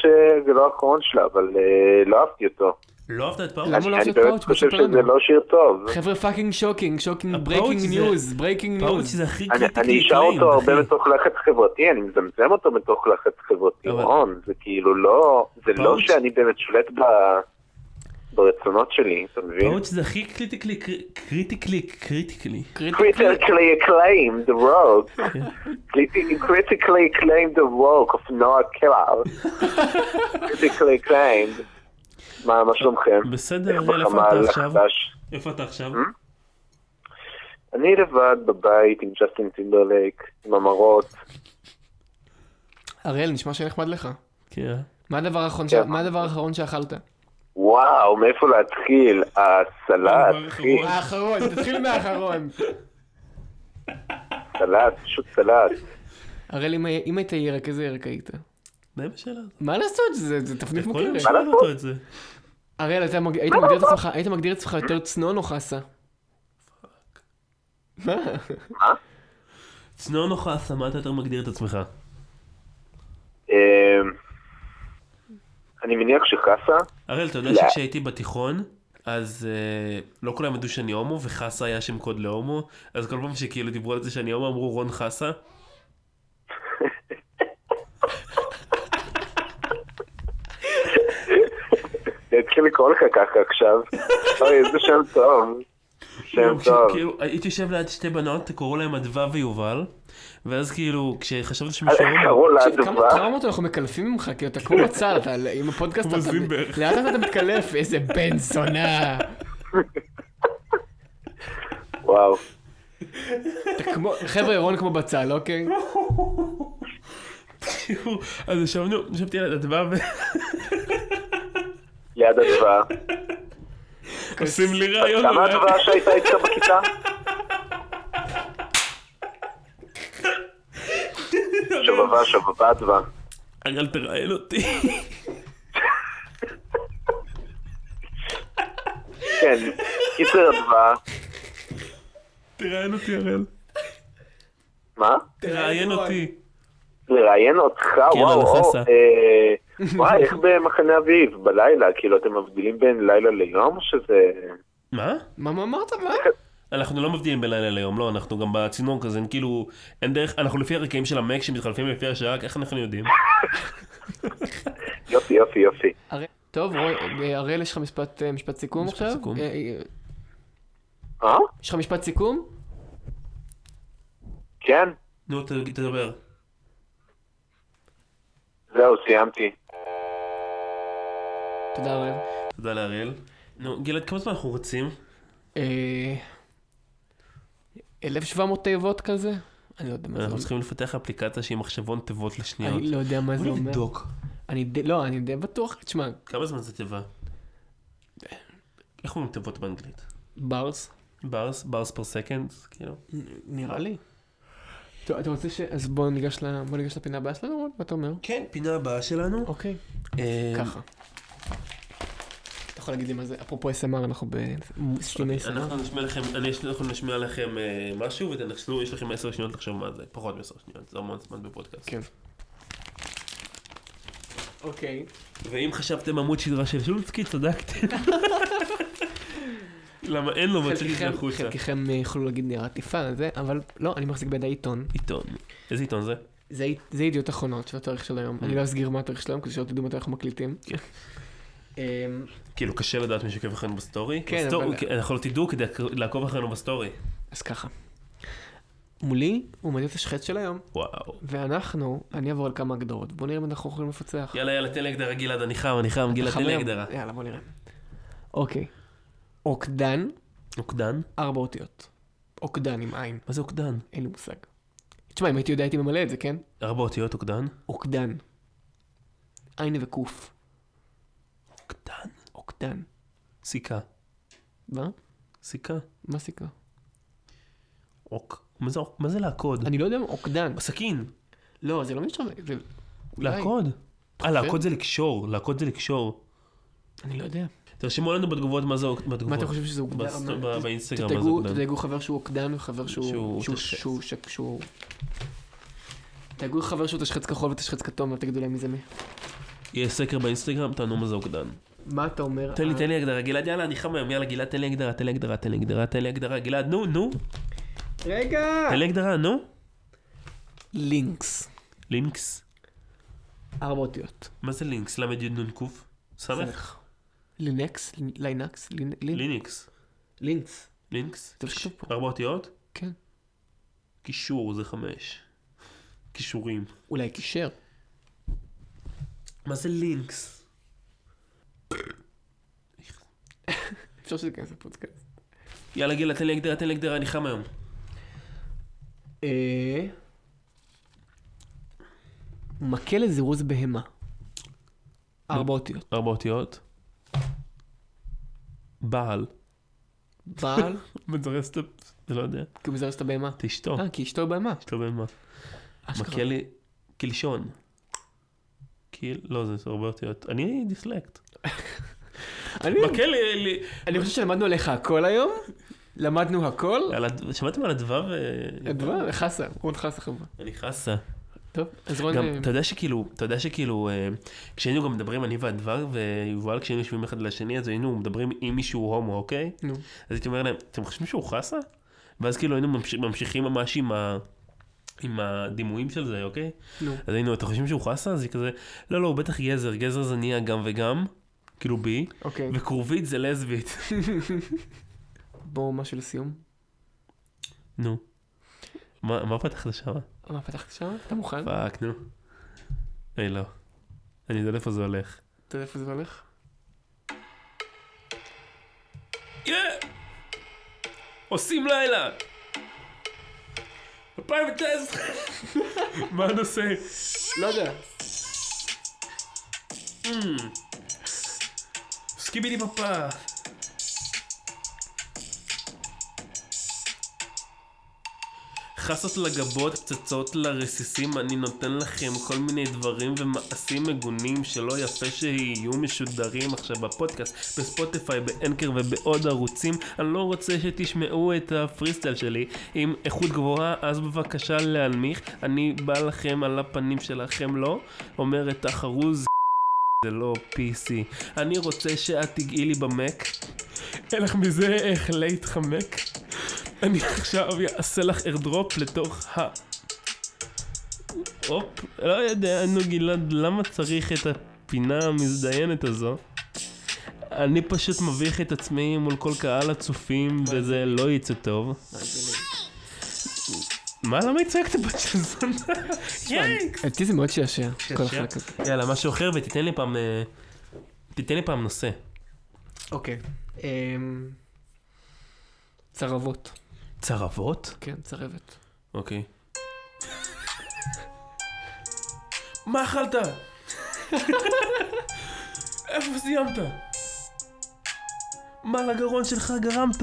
[SPEAKER 4] זה לא האחרון שלה, אבל אה, לא אהבתי אותו.
[SPEAKER 1] לא אהבת את פאוץ'?
[SPEAKER 2] למה לא
[SPEAKER 4] אני-
[SPEAKER 2] אהבת
[SPEAKER 4] אני
[SPEAKER 2] את
[SPEAKER 4] באמת
[SPEAKER 2] פאוץ'?
[SPEAKER 4] חושב
[SPEAKER 2] מספר
[SPEAKER 4] שזה
[SPEAKER 2] לנו.
[SPEAKER 4] לא שיר טוב.
[SPEAKER 2] חבר'ה, פאקינג שוקינג, שוקינג,
[SPEAKER 1] הפאוץ'
[SPEAKER 2] ברייקינג
[SPEAKER 1] זה-
[SPEAKER 2] ניוז, ברייקינג
[SPEAKER 1] פאוץ'
[SPEAKER 2] ניוז.
[SPEAKER 1] זה הכי
[SPEAKER 4] אני-
[SPEAKER 1] קריטיקלי
[SPEAKER 4] אני אשאר
[SPEAKER 1] אקליים,
[SPEAKER 4] אותו הרבה
[SPEAKER 1] אחי.
[SPEAKER 4] בתוך לחץ חברתי, אני מזמזם אותו בתוך לחץ חברתי,
[SPEAKER 1] אבל-
[SPEAKER 4] רון, זה כאילו לא, זה לא
[SPEAKER 1] פאוץ'?
[SPEAKER 4] שאני באמת שולט ב- ברצונות שלי, אתה מבין?
[SPEAKER 1] פאוץ' זה הכי קריטיקלי, קר- קריטיקלי, קריטיקלי.
[SPEAKER 4] Critically acclaimed the
[SPEAKER 1] *laughs*
[SPEAKER 4] work.
[SPEAKER 1] כן.
[SPEAKER 4] Criti- Critically acclaimed the work of Noah Killer.
[SPEAKER 1] *laughs*
[SPEAKER 4] Critically acclaimed. מה, מה שלומכם?
[SPEAKER 1] בסדר,
[SPEAKER 4] איך Hmm?
[SPEAKER 1] אראל, איפה
[SPEAKER 4] בחמ"ל
[SPEAKER 1] אתה עכשיו?
[SPEAKER 4] החדש?
[SPEAKER 1] איפה אתה עכשיו?
[SPEAKER 4] אני לבד בבית עם ג'סטין טימברלייק, עם המראות.
[SPEAKER 2] הראל, נשמע שנחמד לך.
[SPEAKER 1] כן.
[SPEAKER 2] מה הדבר האחרון ש-
[SPEAKER 4] כן.
[SPEAKER 2] מה הדבר האחרון שאכלת?
[SPEAKER 4] וואו, מאיפה להתחיל? הסלט, אחי,
[SPEAKER 2] האחרון, תתחיל *laughs* מהאחרון.
[SPEAKER 4] סלט, פשוט סלט.
[SPEAKER 2] הראל, אם הי- אם היית ירק, איזה ירק היית?
[SPEAKER 1] מה עם השאלה הזאת?
[SPEAKER 2] מה לעשות, זה זה תפנית
[SPEAKER 1] יכול להיות
[SPEAKER 2] מוכרת.
[SPEAKER 1] ששאלנו
[SPEAKER 4] לעשות?
[SPEAKER 1] אותו את זה.
[SPEAKER 2] הראל, אתה מג- היית מגדיר את עצמך- היית מגדיר את עצמך יותר צנון או חסה? מה?
[SPEAKER 1] צנון או חסה, מה אתה יותר מגדיר את עצמך?
[SPEAKER 4] אמ, אני מניח שחסה,
[SPEAKER 1] הראל, אתה יודע
[SPEAKER 4] לא.
[SPEAKER 1] שכשהייתי בתיכון, אז אה, לא כולם ידעו שאני הומו, וחסה היה שם קוד להומו, אז כל פעם שכאילו דיברו על זה שאני הומו, אמרו רון חסה.
[SPEAKER 4] אני אתחיל אה, לקרוא לך ככה
[SPEAKER 1] *laughs*
[SPEAKER 4] עכשיו. אוי, איזה שם טוב. שם
[SPEAKER 1] כאילו, כש-
[SPEAKER 4] טוב.
[SPEAKER 1] כאילו, הייתי יושב ליד שתי בנות, קראו להם אדווה ויובל, ואז כאילו, כשחשבתי
[SPEAKER 4] אז
[SPEAKER 1] שמישהו הומו,
[SPEAKER 4] אה, קראו לה
[SPEAKER 2] תקשיב, כמה
[SPEAKER 4] אדווה.
[SPEAKER 2] טראומות אנחנו מקלפים ממך, כי אתה כמו בצל, אתה עם הפודקאסט,
[SPEAKER 1] כמו
[SPEAKER 2] אתה-
[SPEAKER 1] זילבר.
[SPEAKER 2] לאט לאט אתה מתקלף, איזה בן זונה.
[SPEAKER 4] וואו.
[SPEAKER 2] אתה כמו, חבר'ה, רון כמו בצל, אוקיי?
[SPEAKER 1] כאילו, אז ישבנו, ישבתי על אדווה
[SPEAKER 4] ליד
[SPEAKER 1] *laughs*
[SPEAKER 4] אדווה.
[SPEAKER 1] ועושים לי רעיון.
[SPEAKER 4] כמה
[SPEAKER 1] אולי.
[SPEAKER 4] אדווה שהייתה איתך
[SPEAKER 1] *laughs*
[SPEAKER 4] בכיתה? שובבה, שובבה אדווה.
[SPEAKER 1] אגל תראיין אותי. *laughs*
[SPEAKER 4] כן, קיצר אדווה.
[SPEAKER 1] תראיין אותי הראל.
[SPEAKER 4] מה?
[SPEAKER 1] תראיין אותי.
[SPEAKER 4] לראיין אותך,
[SPEAKER 1] כן,
[SPEAKER 4] וואו,
[SPEAKER 1] על
[SPEAKER 4] או,
[SPEAKER 1] חסה.
[SPEAKER 4] אה, וואי, איך במחנה אביב, בלילה, כאילו, אתם מבדילים בין לילה ליום, או שזה...
[SPEAKER 1] מה?
[SPEAKER 2] מה מה אמרת? מה?
[SPEAKER 1] אנחנו לא מבדילים בין לילה ליום, לא, אנחנו גם בצינור כזה, אין כאילו, אין דרך, אנחנו לפי הרקעים של המק שמתחלפים לפי השעה, איך אנחנו יודעים?
[SPEAKER 4] יופי, יופי, יופי.
[SPEAKER 2] הרי- טוב, רון, אה, הראל, יש לך משפט אה, משפט סיכום
[SPEAKER 1] משפט
[SPEAKER 2] עכשיו?
[SPEAKER 1] סיכום.
[SPEAKER 2] אה, אה,
[SPEAKER 4] אה?
[SPEAKER 2] יש לך משפט סיכום?
[SPEAKER 4] כן,
[SPEAKER 1] נו, ת- תדבר.
[SPEAKER 4] זהו, סיימתי.
[SPEAKER 2] תודה, הראל.
[SPEAKER 1] תודה לאריאל. נו, גלעד, כמה זמן אנחנו רוצים?
[SPEAKER 2] אה, 1,700 תיבות כזה? אני לא יודע מה זה
[SPEAKER 1] אנחנו
[SPEAKER 2] אומר.
[SPEAKER 1] צריכים לפתח אפליקציה שהיא מחשבון תיבות לשניות.
[SPEAKER 2] אני לא יודע מה זה
[SPEAKER 1] בוא
[SPEAKER 2] אומר.
[SPEAKER 1] נבדוק.
[SPEAKER 2] אני די- לא, אני די בטוח, תשמע,
[SPEAKER 1] כמה זמן זה תיבה? איך אומרים תיבות באנגלית?
[SPEAKER 2] ברס,
[SPEAKER 1] ברס? ברס פר סקנד? כאילו?
[SPEAKER 2] נראה לי. טוב, אתה רוצה ש... אז בוא ניגש ל- בוא ניגש לפינה הבאה שלנו, רון? מה אתה אומר?
[SPEAKER 1] כן, פינה הבאה שלנו.
[SPEAKER 2] אוקיי.
[SPEAKER 1] אה,
[SPEAKER 2] ככה. אתה יכול להגיד לי מה זה? אפרופו SMR, אנחנו בסטרימי SMR.
[SPEAKER 1] אנחנו נשמיע לכם, אני אנחנו נשמיע לכם אה, משהו ותנסו, יש לכם 10 שניות לחשוב מה זה, פחות מ-10 שניות, זה המון זמן בפודקאסט.
[SPEAKER 2] כן. אוקיי. *laughs*
[SPEAKER 1] ואם חשבתם עמוד שדרה של שולצקי, צדקתם. למה אין לו מצליח
[SPEAKER 2] חלקכם-
[SPEAKER 1] החוצה.
[SPEAKER 2] חלקכם אה, יכולו להגיד נייר עטיפה, זה, אבל לא, אני מחזיק בידי עיתון.
[SPEAKER 1] עיתון. איזה עיתון זה?
[SPEAKER 2] זה זה ידיעות אחרונות של התאריך של היום. אני לא אסגיר מה התאריך של היום, כדי שלא תדעו מתי אנחנו מקליטים.
[SPEAKER 1] Mm. כן.
[SPEAKER 2] אמ,
[SPEAKER 1] כאילו קשה לדעת מי שעוקב אחרינו בסטורי.
[SPEAKER 2] כן,
[SPEAKER 1] בסטורי,
[SPEAKER 2] אבל-
[SPEAKER 1] כן, אנחנו לא תדעו כדי לעקוב אחרינו בסטורי.
[SPEAKER 2] אז ככה. מולי הוא מדליף את השחט של היום,
[SPEAKER 1] וואו.
[SPEAKER 2] ואנחנו, אני אעבור על כמה הגדרות. בוא נראה אם אנחנו יכולים לפצח.
[SPEAKER 1] יאללה יאללה תן לי הגדרה גלעד אני חם אני חם גלעד תן לי
[SPEAKER 2] חמם.
[SPEAKER 1] הגדרה.
[SPEAKER 2] יאללה, בוא נראה. אוקיי. עוקדן,
[SPEAKER 1] אוקדן?
[SPEAKER 2] ארבע אותיות. עוקדן עם עין,
[SPEAKER 1] מה זה אוקדן?
[SPEAKER 2] אין לי מושג. תשמע, אם הייתי יודע הייתי ממלא את זה, כן?
[SPEAKER 1] ארבע אותיות אוקדן?
[SPEAKER 2] עוקדן. עין וקוף.
[SPEAKER 1] אוקדן?
[SPEAKER 2] עוקדן.
[SPEAKER 1] סיכה.
[SPEAKER 2] מה?
[SPEAKER 1] סיכה.
[SPEAKER 2] מה סיכה?
[SPEAKER 1] אוק. מה זה אוק? מה זה לעקוד?
[SPEAKER 2] אני לא יודע מה עוקדן.
[SPEAKER 1] סכין.
[SPEAKER 2] לא, זה לא משנה. זה... אולי. כן.
[SPEAKER 1] לעקוד. אה
[SPEAKER 2] חושב?
[SPEAKER 1] לעקוד זה לקשור. לעקוד זה לקשור.
[SPEAKER 2] אני לא יודע.
[SPEAKER 1] תרשמו לנו בתגובות מה זה אוק- בתגובות.
[SPEAKER 2] מה אתה חושב שזה עוקדן?
[SPEAKER 1] בסט- נכון. ב- באינסטגרם מה זה
[SPEAKER 2] תתגו,
[SPEAKER 1] אוקדן.
[SPEAKER 2] תתגו חבר שהוא עוקדן וחבר שהוא...
[SPEAKER 1] שהוא
[SPEAKER 2] שהוא...
[SPEAKER 1] תשחץ.
[SPEAKER 2] שהוא... שהוא- שהוא... תגו חבר שהוא תשחץ כחול ותשחץ כתום, אל תגידו להם מי זה מי.
[SPEAKER 1] יהיה סקר באינסטגרם תענו מה זה אוקדן.
[SPEAKER 2] מה אתה אומר?
[SPEAKER 1] תן לי,
[SPEAKER 2] אה,
[SPEAKER 1] תן לי הגדרה, גלעד, יאללה, אני חם היום, יאללה, גלעד, תן לי הגדרה, תן לי הגדרה, תן לי הגדרה, תן לי הגדרה, גלעד, נו, נו,
[SPEAKER 2] רגע!
[SPEAKER 1] תן לי הגדרה, נו.
[SPEAKER 2] לינקס.
[SPEAKER 1] לינקס.
[SPEAKER 2] ארבע אותיות.
[SPEAKER 1] מה זה לינקס? ל"י נ"ן ק? סמך?
[SPEAKER 2] סמך. לינקס? ליינקס? לינ- לינ-
[SPEAKER 1] לינקס.
[SPEAKER 2] לינקס.
[SPEAKER 1] לינקס.
[SPEAKER 2] זה חשוב פה.
[SPEAKER 1] ארבע אותיות?
[SPEAKER 2] כן.
[SPEAKER 1] קישור זה חמש. קישורים.
[SPEAKER 2] אולי קישר.
[SPEAKER 1] מה זה לינקס?
[SPEAKER 2] אפשר שזה ייכנס לפודקאסט.
[SPEAKER 1] יאללה, גלעד, תן לי הגדרה, תן לי הגדרה, אני חם היום.
[SPEAKER 2] אה, מקל לזירוז בהמה. ארבע
[SPEAKER 1] *laughs*
[SPEAKER 2] אותיות.
[SPEAKER 1] ארבע אותיות. בעל.
[SPEAKER 2] בעל?
[SPEAKER 1] מזרז את ה... לא יודע.
[SPEAKER 2] כי הוא מזרז את הבהמה.
[SPEAKER 1] את אשתו.
[SPEAKER 2] אה, כי אשתו בהמה.
[SPEAKER 1] אשתו בן מה.
[SPEAKER 2] אשכרה.
[SPEAKER 1] מקל לי קלשון. קיל... לא, זה הרבה אותיות. אני דיסלקט.
[SPEAKER 2] אני-
[SPEAKER 1] מקל לי- לי...
[SPEAKER 2] אני חושב שלמדנו עליך הכל היום. למדנו הכל.
[SPEAKER 1] על הד- שמעתם על הדבב? אה,
[SPEAKER 2] דבר, חסה, רון חסה חברה.
[SPEAKER 1] אני חסה.
[SPEAKER 2] טוב, אז רון...
[SPEAKER 1] גם,
[SPEAKER 2] אה,
[SPEAKER 1] אתה יודע שכאילו, אתה יודע שכאילו, אה, כשהיינו גם מדברים, אני והדבר ויובל, כשהיינו יושבים אחד לשני, אז היינו מדברים עם מישהו הומו, אוקיי?
[SPEAKER 2] נו.
[SPEAKER 1] אז הייתי אומר להם, אתם חושבים שהוא חסה? ואז כאילו היינו ממש- ממשיכים ממש עם ה... עם הדימויים של זה, אוקיי?
[SPEAKER 2] נו.
[SPEAKER 1] אז היינו, אתם חושבים שהוא חסה? אז היא כזה, לא, לא, הוא בטח גזר, גזר זה נהיה גם וגם, כאילו בי,
[SPEAKER 2] אוקיי.
[SPEAKER 1] וכרובית זה לסבית. *laughs*
[SPEAKER 2] בואו משהו לסיום.
[SPEAKER 1] נו. מה מה פתחת שם?
[SPEAKER 2] מה פתחת שם? אתה מוכן?
[SPEAKER 1] פאק, נו. היי, לא. אני יודע לאיפה זה הולך.
[SPEAKER 2] אתה יודע איפה זה הולך?
[SPEAKER 1] עושים לילה! 2019! מה הנושא?
[SPEAKER 2] לא יודע.
[SPEAKER 1] סקיבידי פאפה! חסות לגבות, פצצות לרסיסים, אני נותן לכם כל מיני דברים ומעשים מגונים שלא יפה שיהיו משודרים עכשיו בפודקאסט, בספוטיפיי, באנקר ובעוד ערוצים. אני לא רוצה שתשמעו את הפריסטייל שלי עם איכות גבוהה, אז בבקשה להנמיך. אני בא לכם על הפנים שלכם, לא? אומר את החרוז. זה לא PC. אני רוצה שאת תגעי לי במק. אין לך מזה איך להתחמק. אני עכשיו אעשה לך ארדרופ לתוך ה... הופ, לא יודע, נו גלעד, למה צריך את הפינה המזדיינת הזו? אני פשוט מביך את עצמי מול כל קהל הצופים, וזה לא יצא טוב. מה, למה הצעקת בת של זונה? יאיקס!
[SPEAKER 2] אותי זה מאוד שעשע. כל
[SPEAKER 1] שעשע?
[SPEAKER 2] החלק הזה.
[SPEAKER 1] יאללה, משהו אחר, ותיתן לי פעם... אה, תיתן לי פעם נושא.
[SPEAKER 2] אוקיי. אמ, צרבות.
[SPEAKER 1] צרבות?
[SPEAKER 2] כן, צרבת.
[SPEAKER 1] אוקיי. מה אכלת? איפה סיימת? מה לגרון שלך גרמת?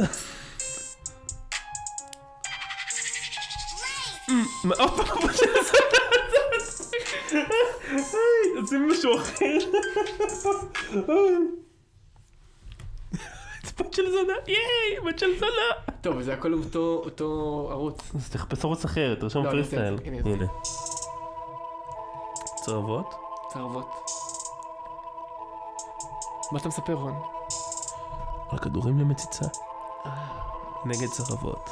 [SPEAKER 1] אמ, מה- עוד פעם, *laughs* מה שזה? היי, עושים משהו אחר. *laughs* בת של זונה, ייי, בת של זונה.
[SPEAKER 2] טוב, זה הכל אותו אותו ערוץ.
[SPEAKER 1] אז תחפש ערוץ אחר, תרשום
[SPEAKER 2] לא, אני עושה
[SPEAKER 1] פריסטייל.
[SPEAKER 2] את זה, הנה,
[SPEAKER 1] הנה. צרבות?
[SPEAKER 2] צרבות. מה אתה מספר, רון?
[SPEAKER 1] על כדורים למציצה. נגד סחבות.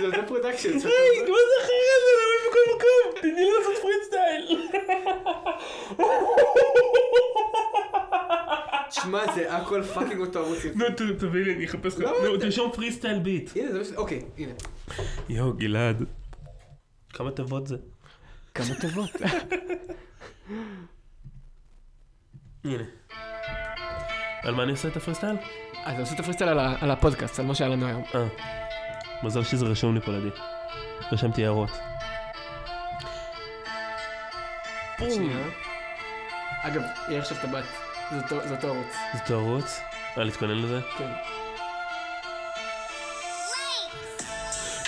[SPEAKER 2] זה עושה פרודקשן.
[SPEAKER 1] היי, מה זה החרא הזה? למה היא בכל מקום? תני לי לעשות פריט סטייל.
[SPEAKER 2] שמע, זה הכל פאקינג אותו ערוץ. יפה.
[SPEAKER 1] נו, ת- תביא לי, אני אחפש לך.
[SPEAKER 2] לא,
[SPEAKER 1] נו,
[SPEAKER 2] זה-
[SPEAKER 1] תרשום פרי סטייל ביט.
[SPEAKER 2] הנה, זה מה ש... אוקיי, הנה.
[SPEAKER 1] יואו, גלעד. כמה תיבות זה?
[SPEAKER 2] כמה טובות.
[SPEAKER 1] הנה. על מה אני עושה את הפרי סטייל?
[SPEAKER 2] אז עשו את הפריסטייל על ה- על הפודקאסט, על מה שהיה לנו היום.
[SPEAKER 1] אה. מזל שזה רשום לי פה לידי. רשמתי הערות. בום.
[SPEAKER 2] שנייה. אגב, יהיה עכשיו טבעת. זה אותו- זה אותו ערוץ.
[SPEAKER 1] זה תערוץ? אה, להתכונן לזה?
[SPEAKER 2] כן.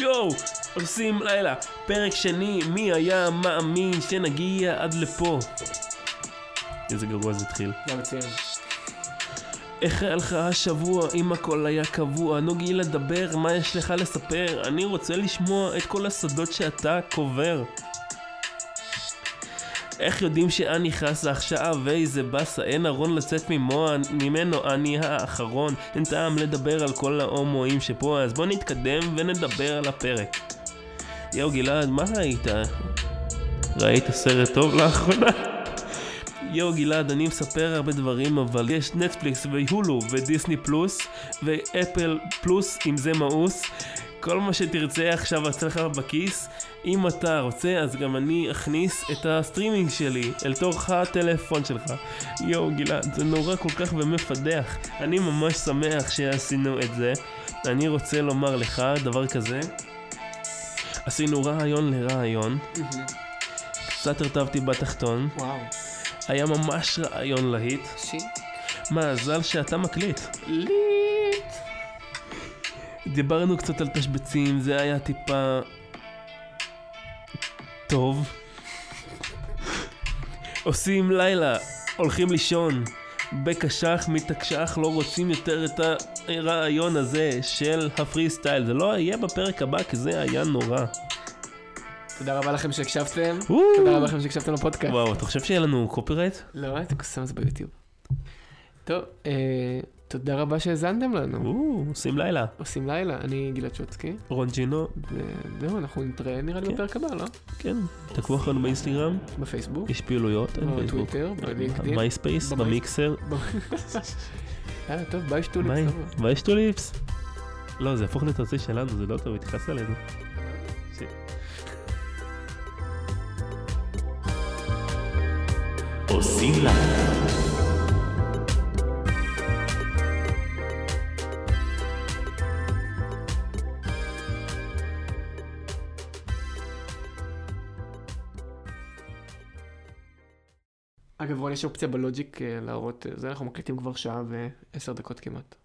[SPEAKER 1] יואו, עושים לילה. פרק שני, מי היה מאמין שנגיע עד לפה? איזה גרוע זה התחיל.
[SPEAKER 2] גם מצוין.
[SPEAKER 1] איך היה לך השבוע אם הכל היה קבוע? נו גילה דבר, מה יש לך לספר? אני רוצה לשמוע את כל הסודות שאתה קובר. איך יודעים שאני חסה עכשיו, איזה באסה, אין ארון לצאת ממוע, ממנו אני האחרון. אין טעם לדבר על כל ההומואים שפה, אז בוא נתקדם ונדבר על הפרק. יואו גלעד, מה ראית? ראית סרט טוב לאחרונה? יואו גלעד, אני מספר הרבה דברים, אבל יש נטפליקס והולו ודיסני פלוס ואפל פלוס, אם זה מאוס. כל מה שתרצה עכשיו אצלך בכיס. אם אתה רוצה, אז גם אני אכניס את הסטרימינג שלי אל תוך הטלפון שלך. יואו גלעד, זה נורא כל כך ומפדח. אני ממש שמח שעשינו את זה. אני רוצה לומר לך דבר כזה. עשינו רעיון לרעיון, קצת הרטבתי בתחתון,
[SPEAKER 2] וואו.
[SPEAKER 1] היה ממש רעיון להיט.
[SPEAKER 2] שיט.
[SPEAKER 1] מזל שאתה מקליט. ליט. דיברנו קצת על תשבצים, זה היה טיפה... טוב. עושים לילה, הולכים לישון. בקשח, מתקשח, לא רוצים יותר את הרעיון הזה של הפרי סטייל. זה לא יהיה בפרק הבא, כי זה היה נורא.
[SPEAKER 2] תודה רבה לכם שהקשבתם.
[SPEAKER 1] וואו.
[SPEAKER 2] תודה רבה לכם שהקשבתם לפודקאסט.
[SPEAKER 1] וואו, אתה חושב שיהיה לנו קופירייט?
[SPEAKER 2] לא, אתה שם את זה ביוטיוב. טוב, אה, תודה רבה שהאזנתם לנו.
[SPEAKER 1] וואו, עושים לילה.
[SPEAKER 2] עושים לילה, אני גלעד שוצקי.
[SPEAKER 1] רונג'ינו,
[SPEAKER 2] וזהו, אנחנו נתראה נראה לי
[SPEAKER 1] כן.
[SPEAKER 2] בפרק הבא, לא?
[SPEAKER 1] כן, תקחו אחרינו באינסטגרם.
[SPEAKER 2] בפייסבוק,
[SPEAKER 1] יש פעילויות, אין פייסבוק.
[SPEAKER 2] בטוויטר, בלינקדאין.
[SPEAKER 1] מייספייס,
[SPEAKER 2] במייס-
[SPEAKER 1] במיקסר.
[SPEAKER 2] *laughs* יאללה, טוב, כן. ביי שטולי.
[SPEAKER 1] מה-
[SPEAKER 2] חבר'ה.
[SPEAKER 1] מה יש טוליפס? לא, זה יהפוך לתוציא שלנו, זה לא טוב, התייחסת אלינו. ש-
[SPEAKER 3] עושים לילה.
[SPEAKER 2] אגב, רון, יש אופציה בלוג'יק אה, להראות, אה, זה אנחנו מקליטים כבר שעה ועשר דקות כמעט.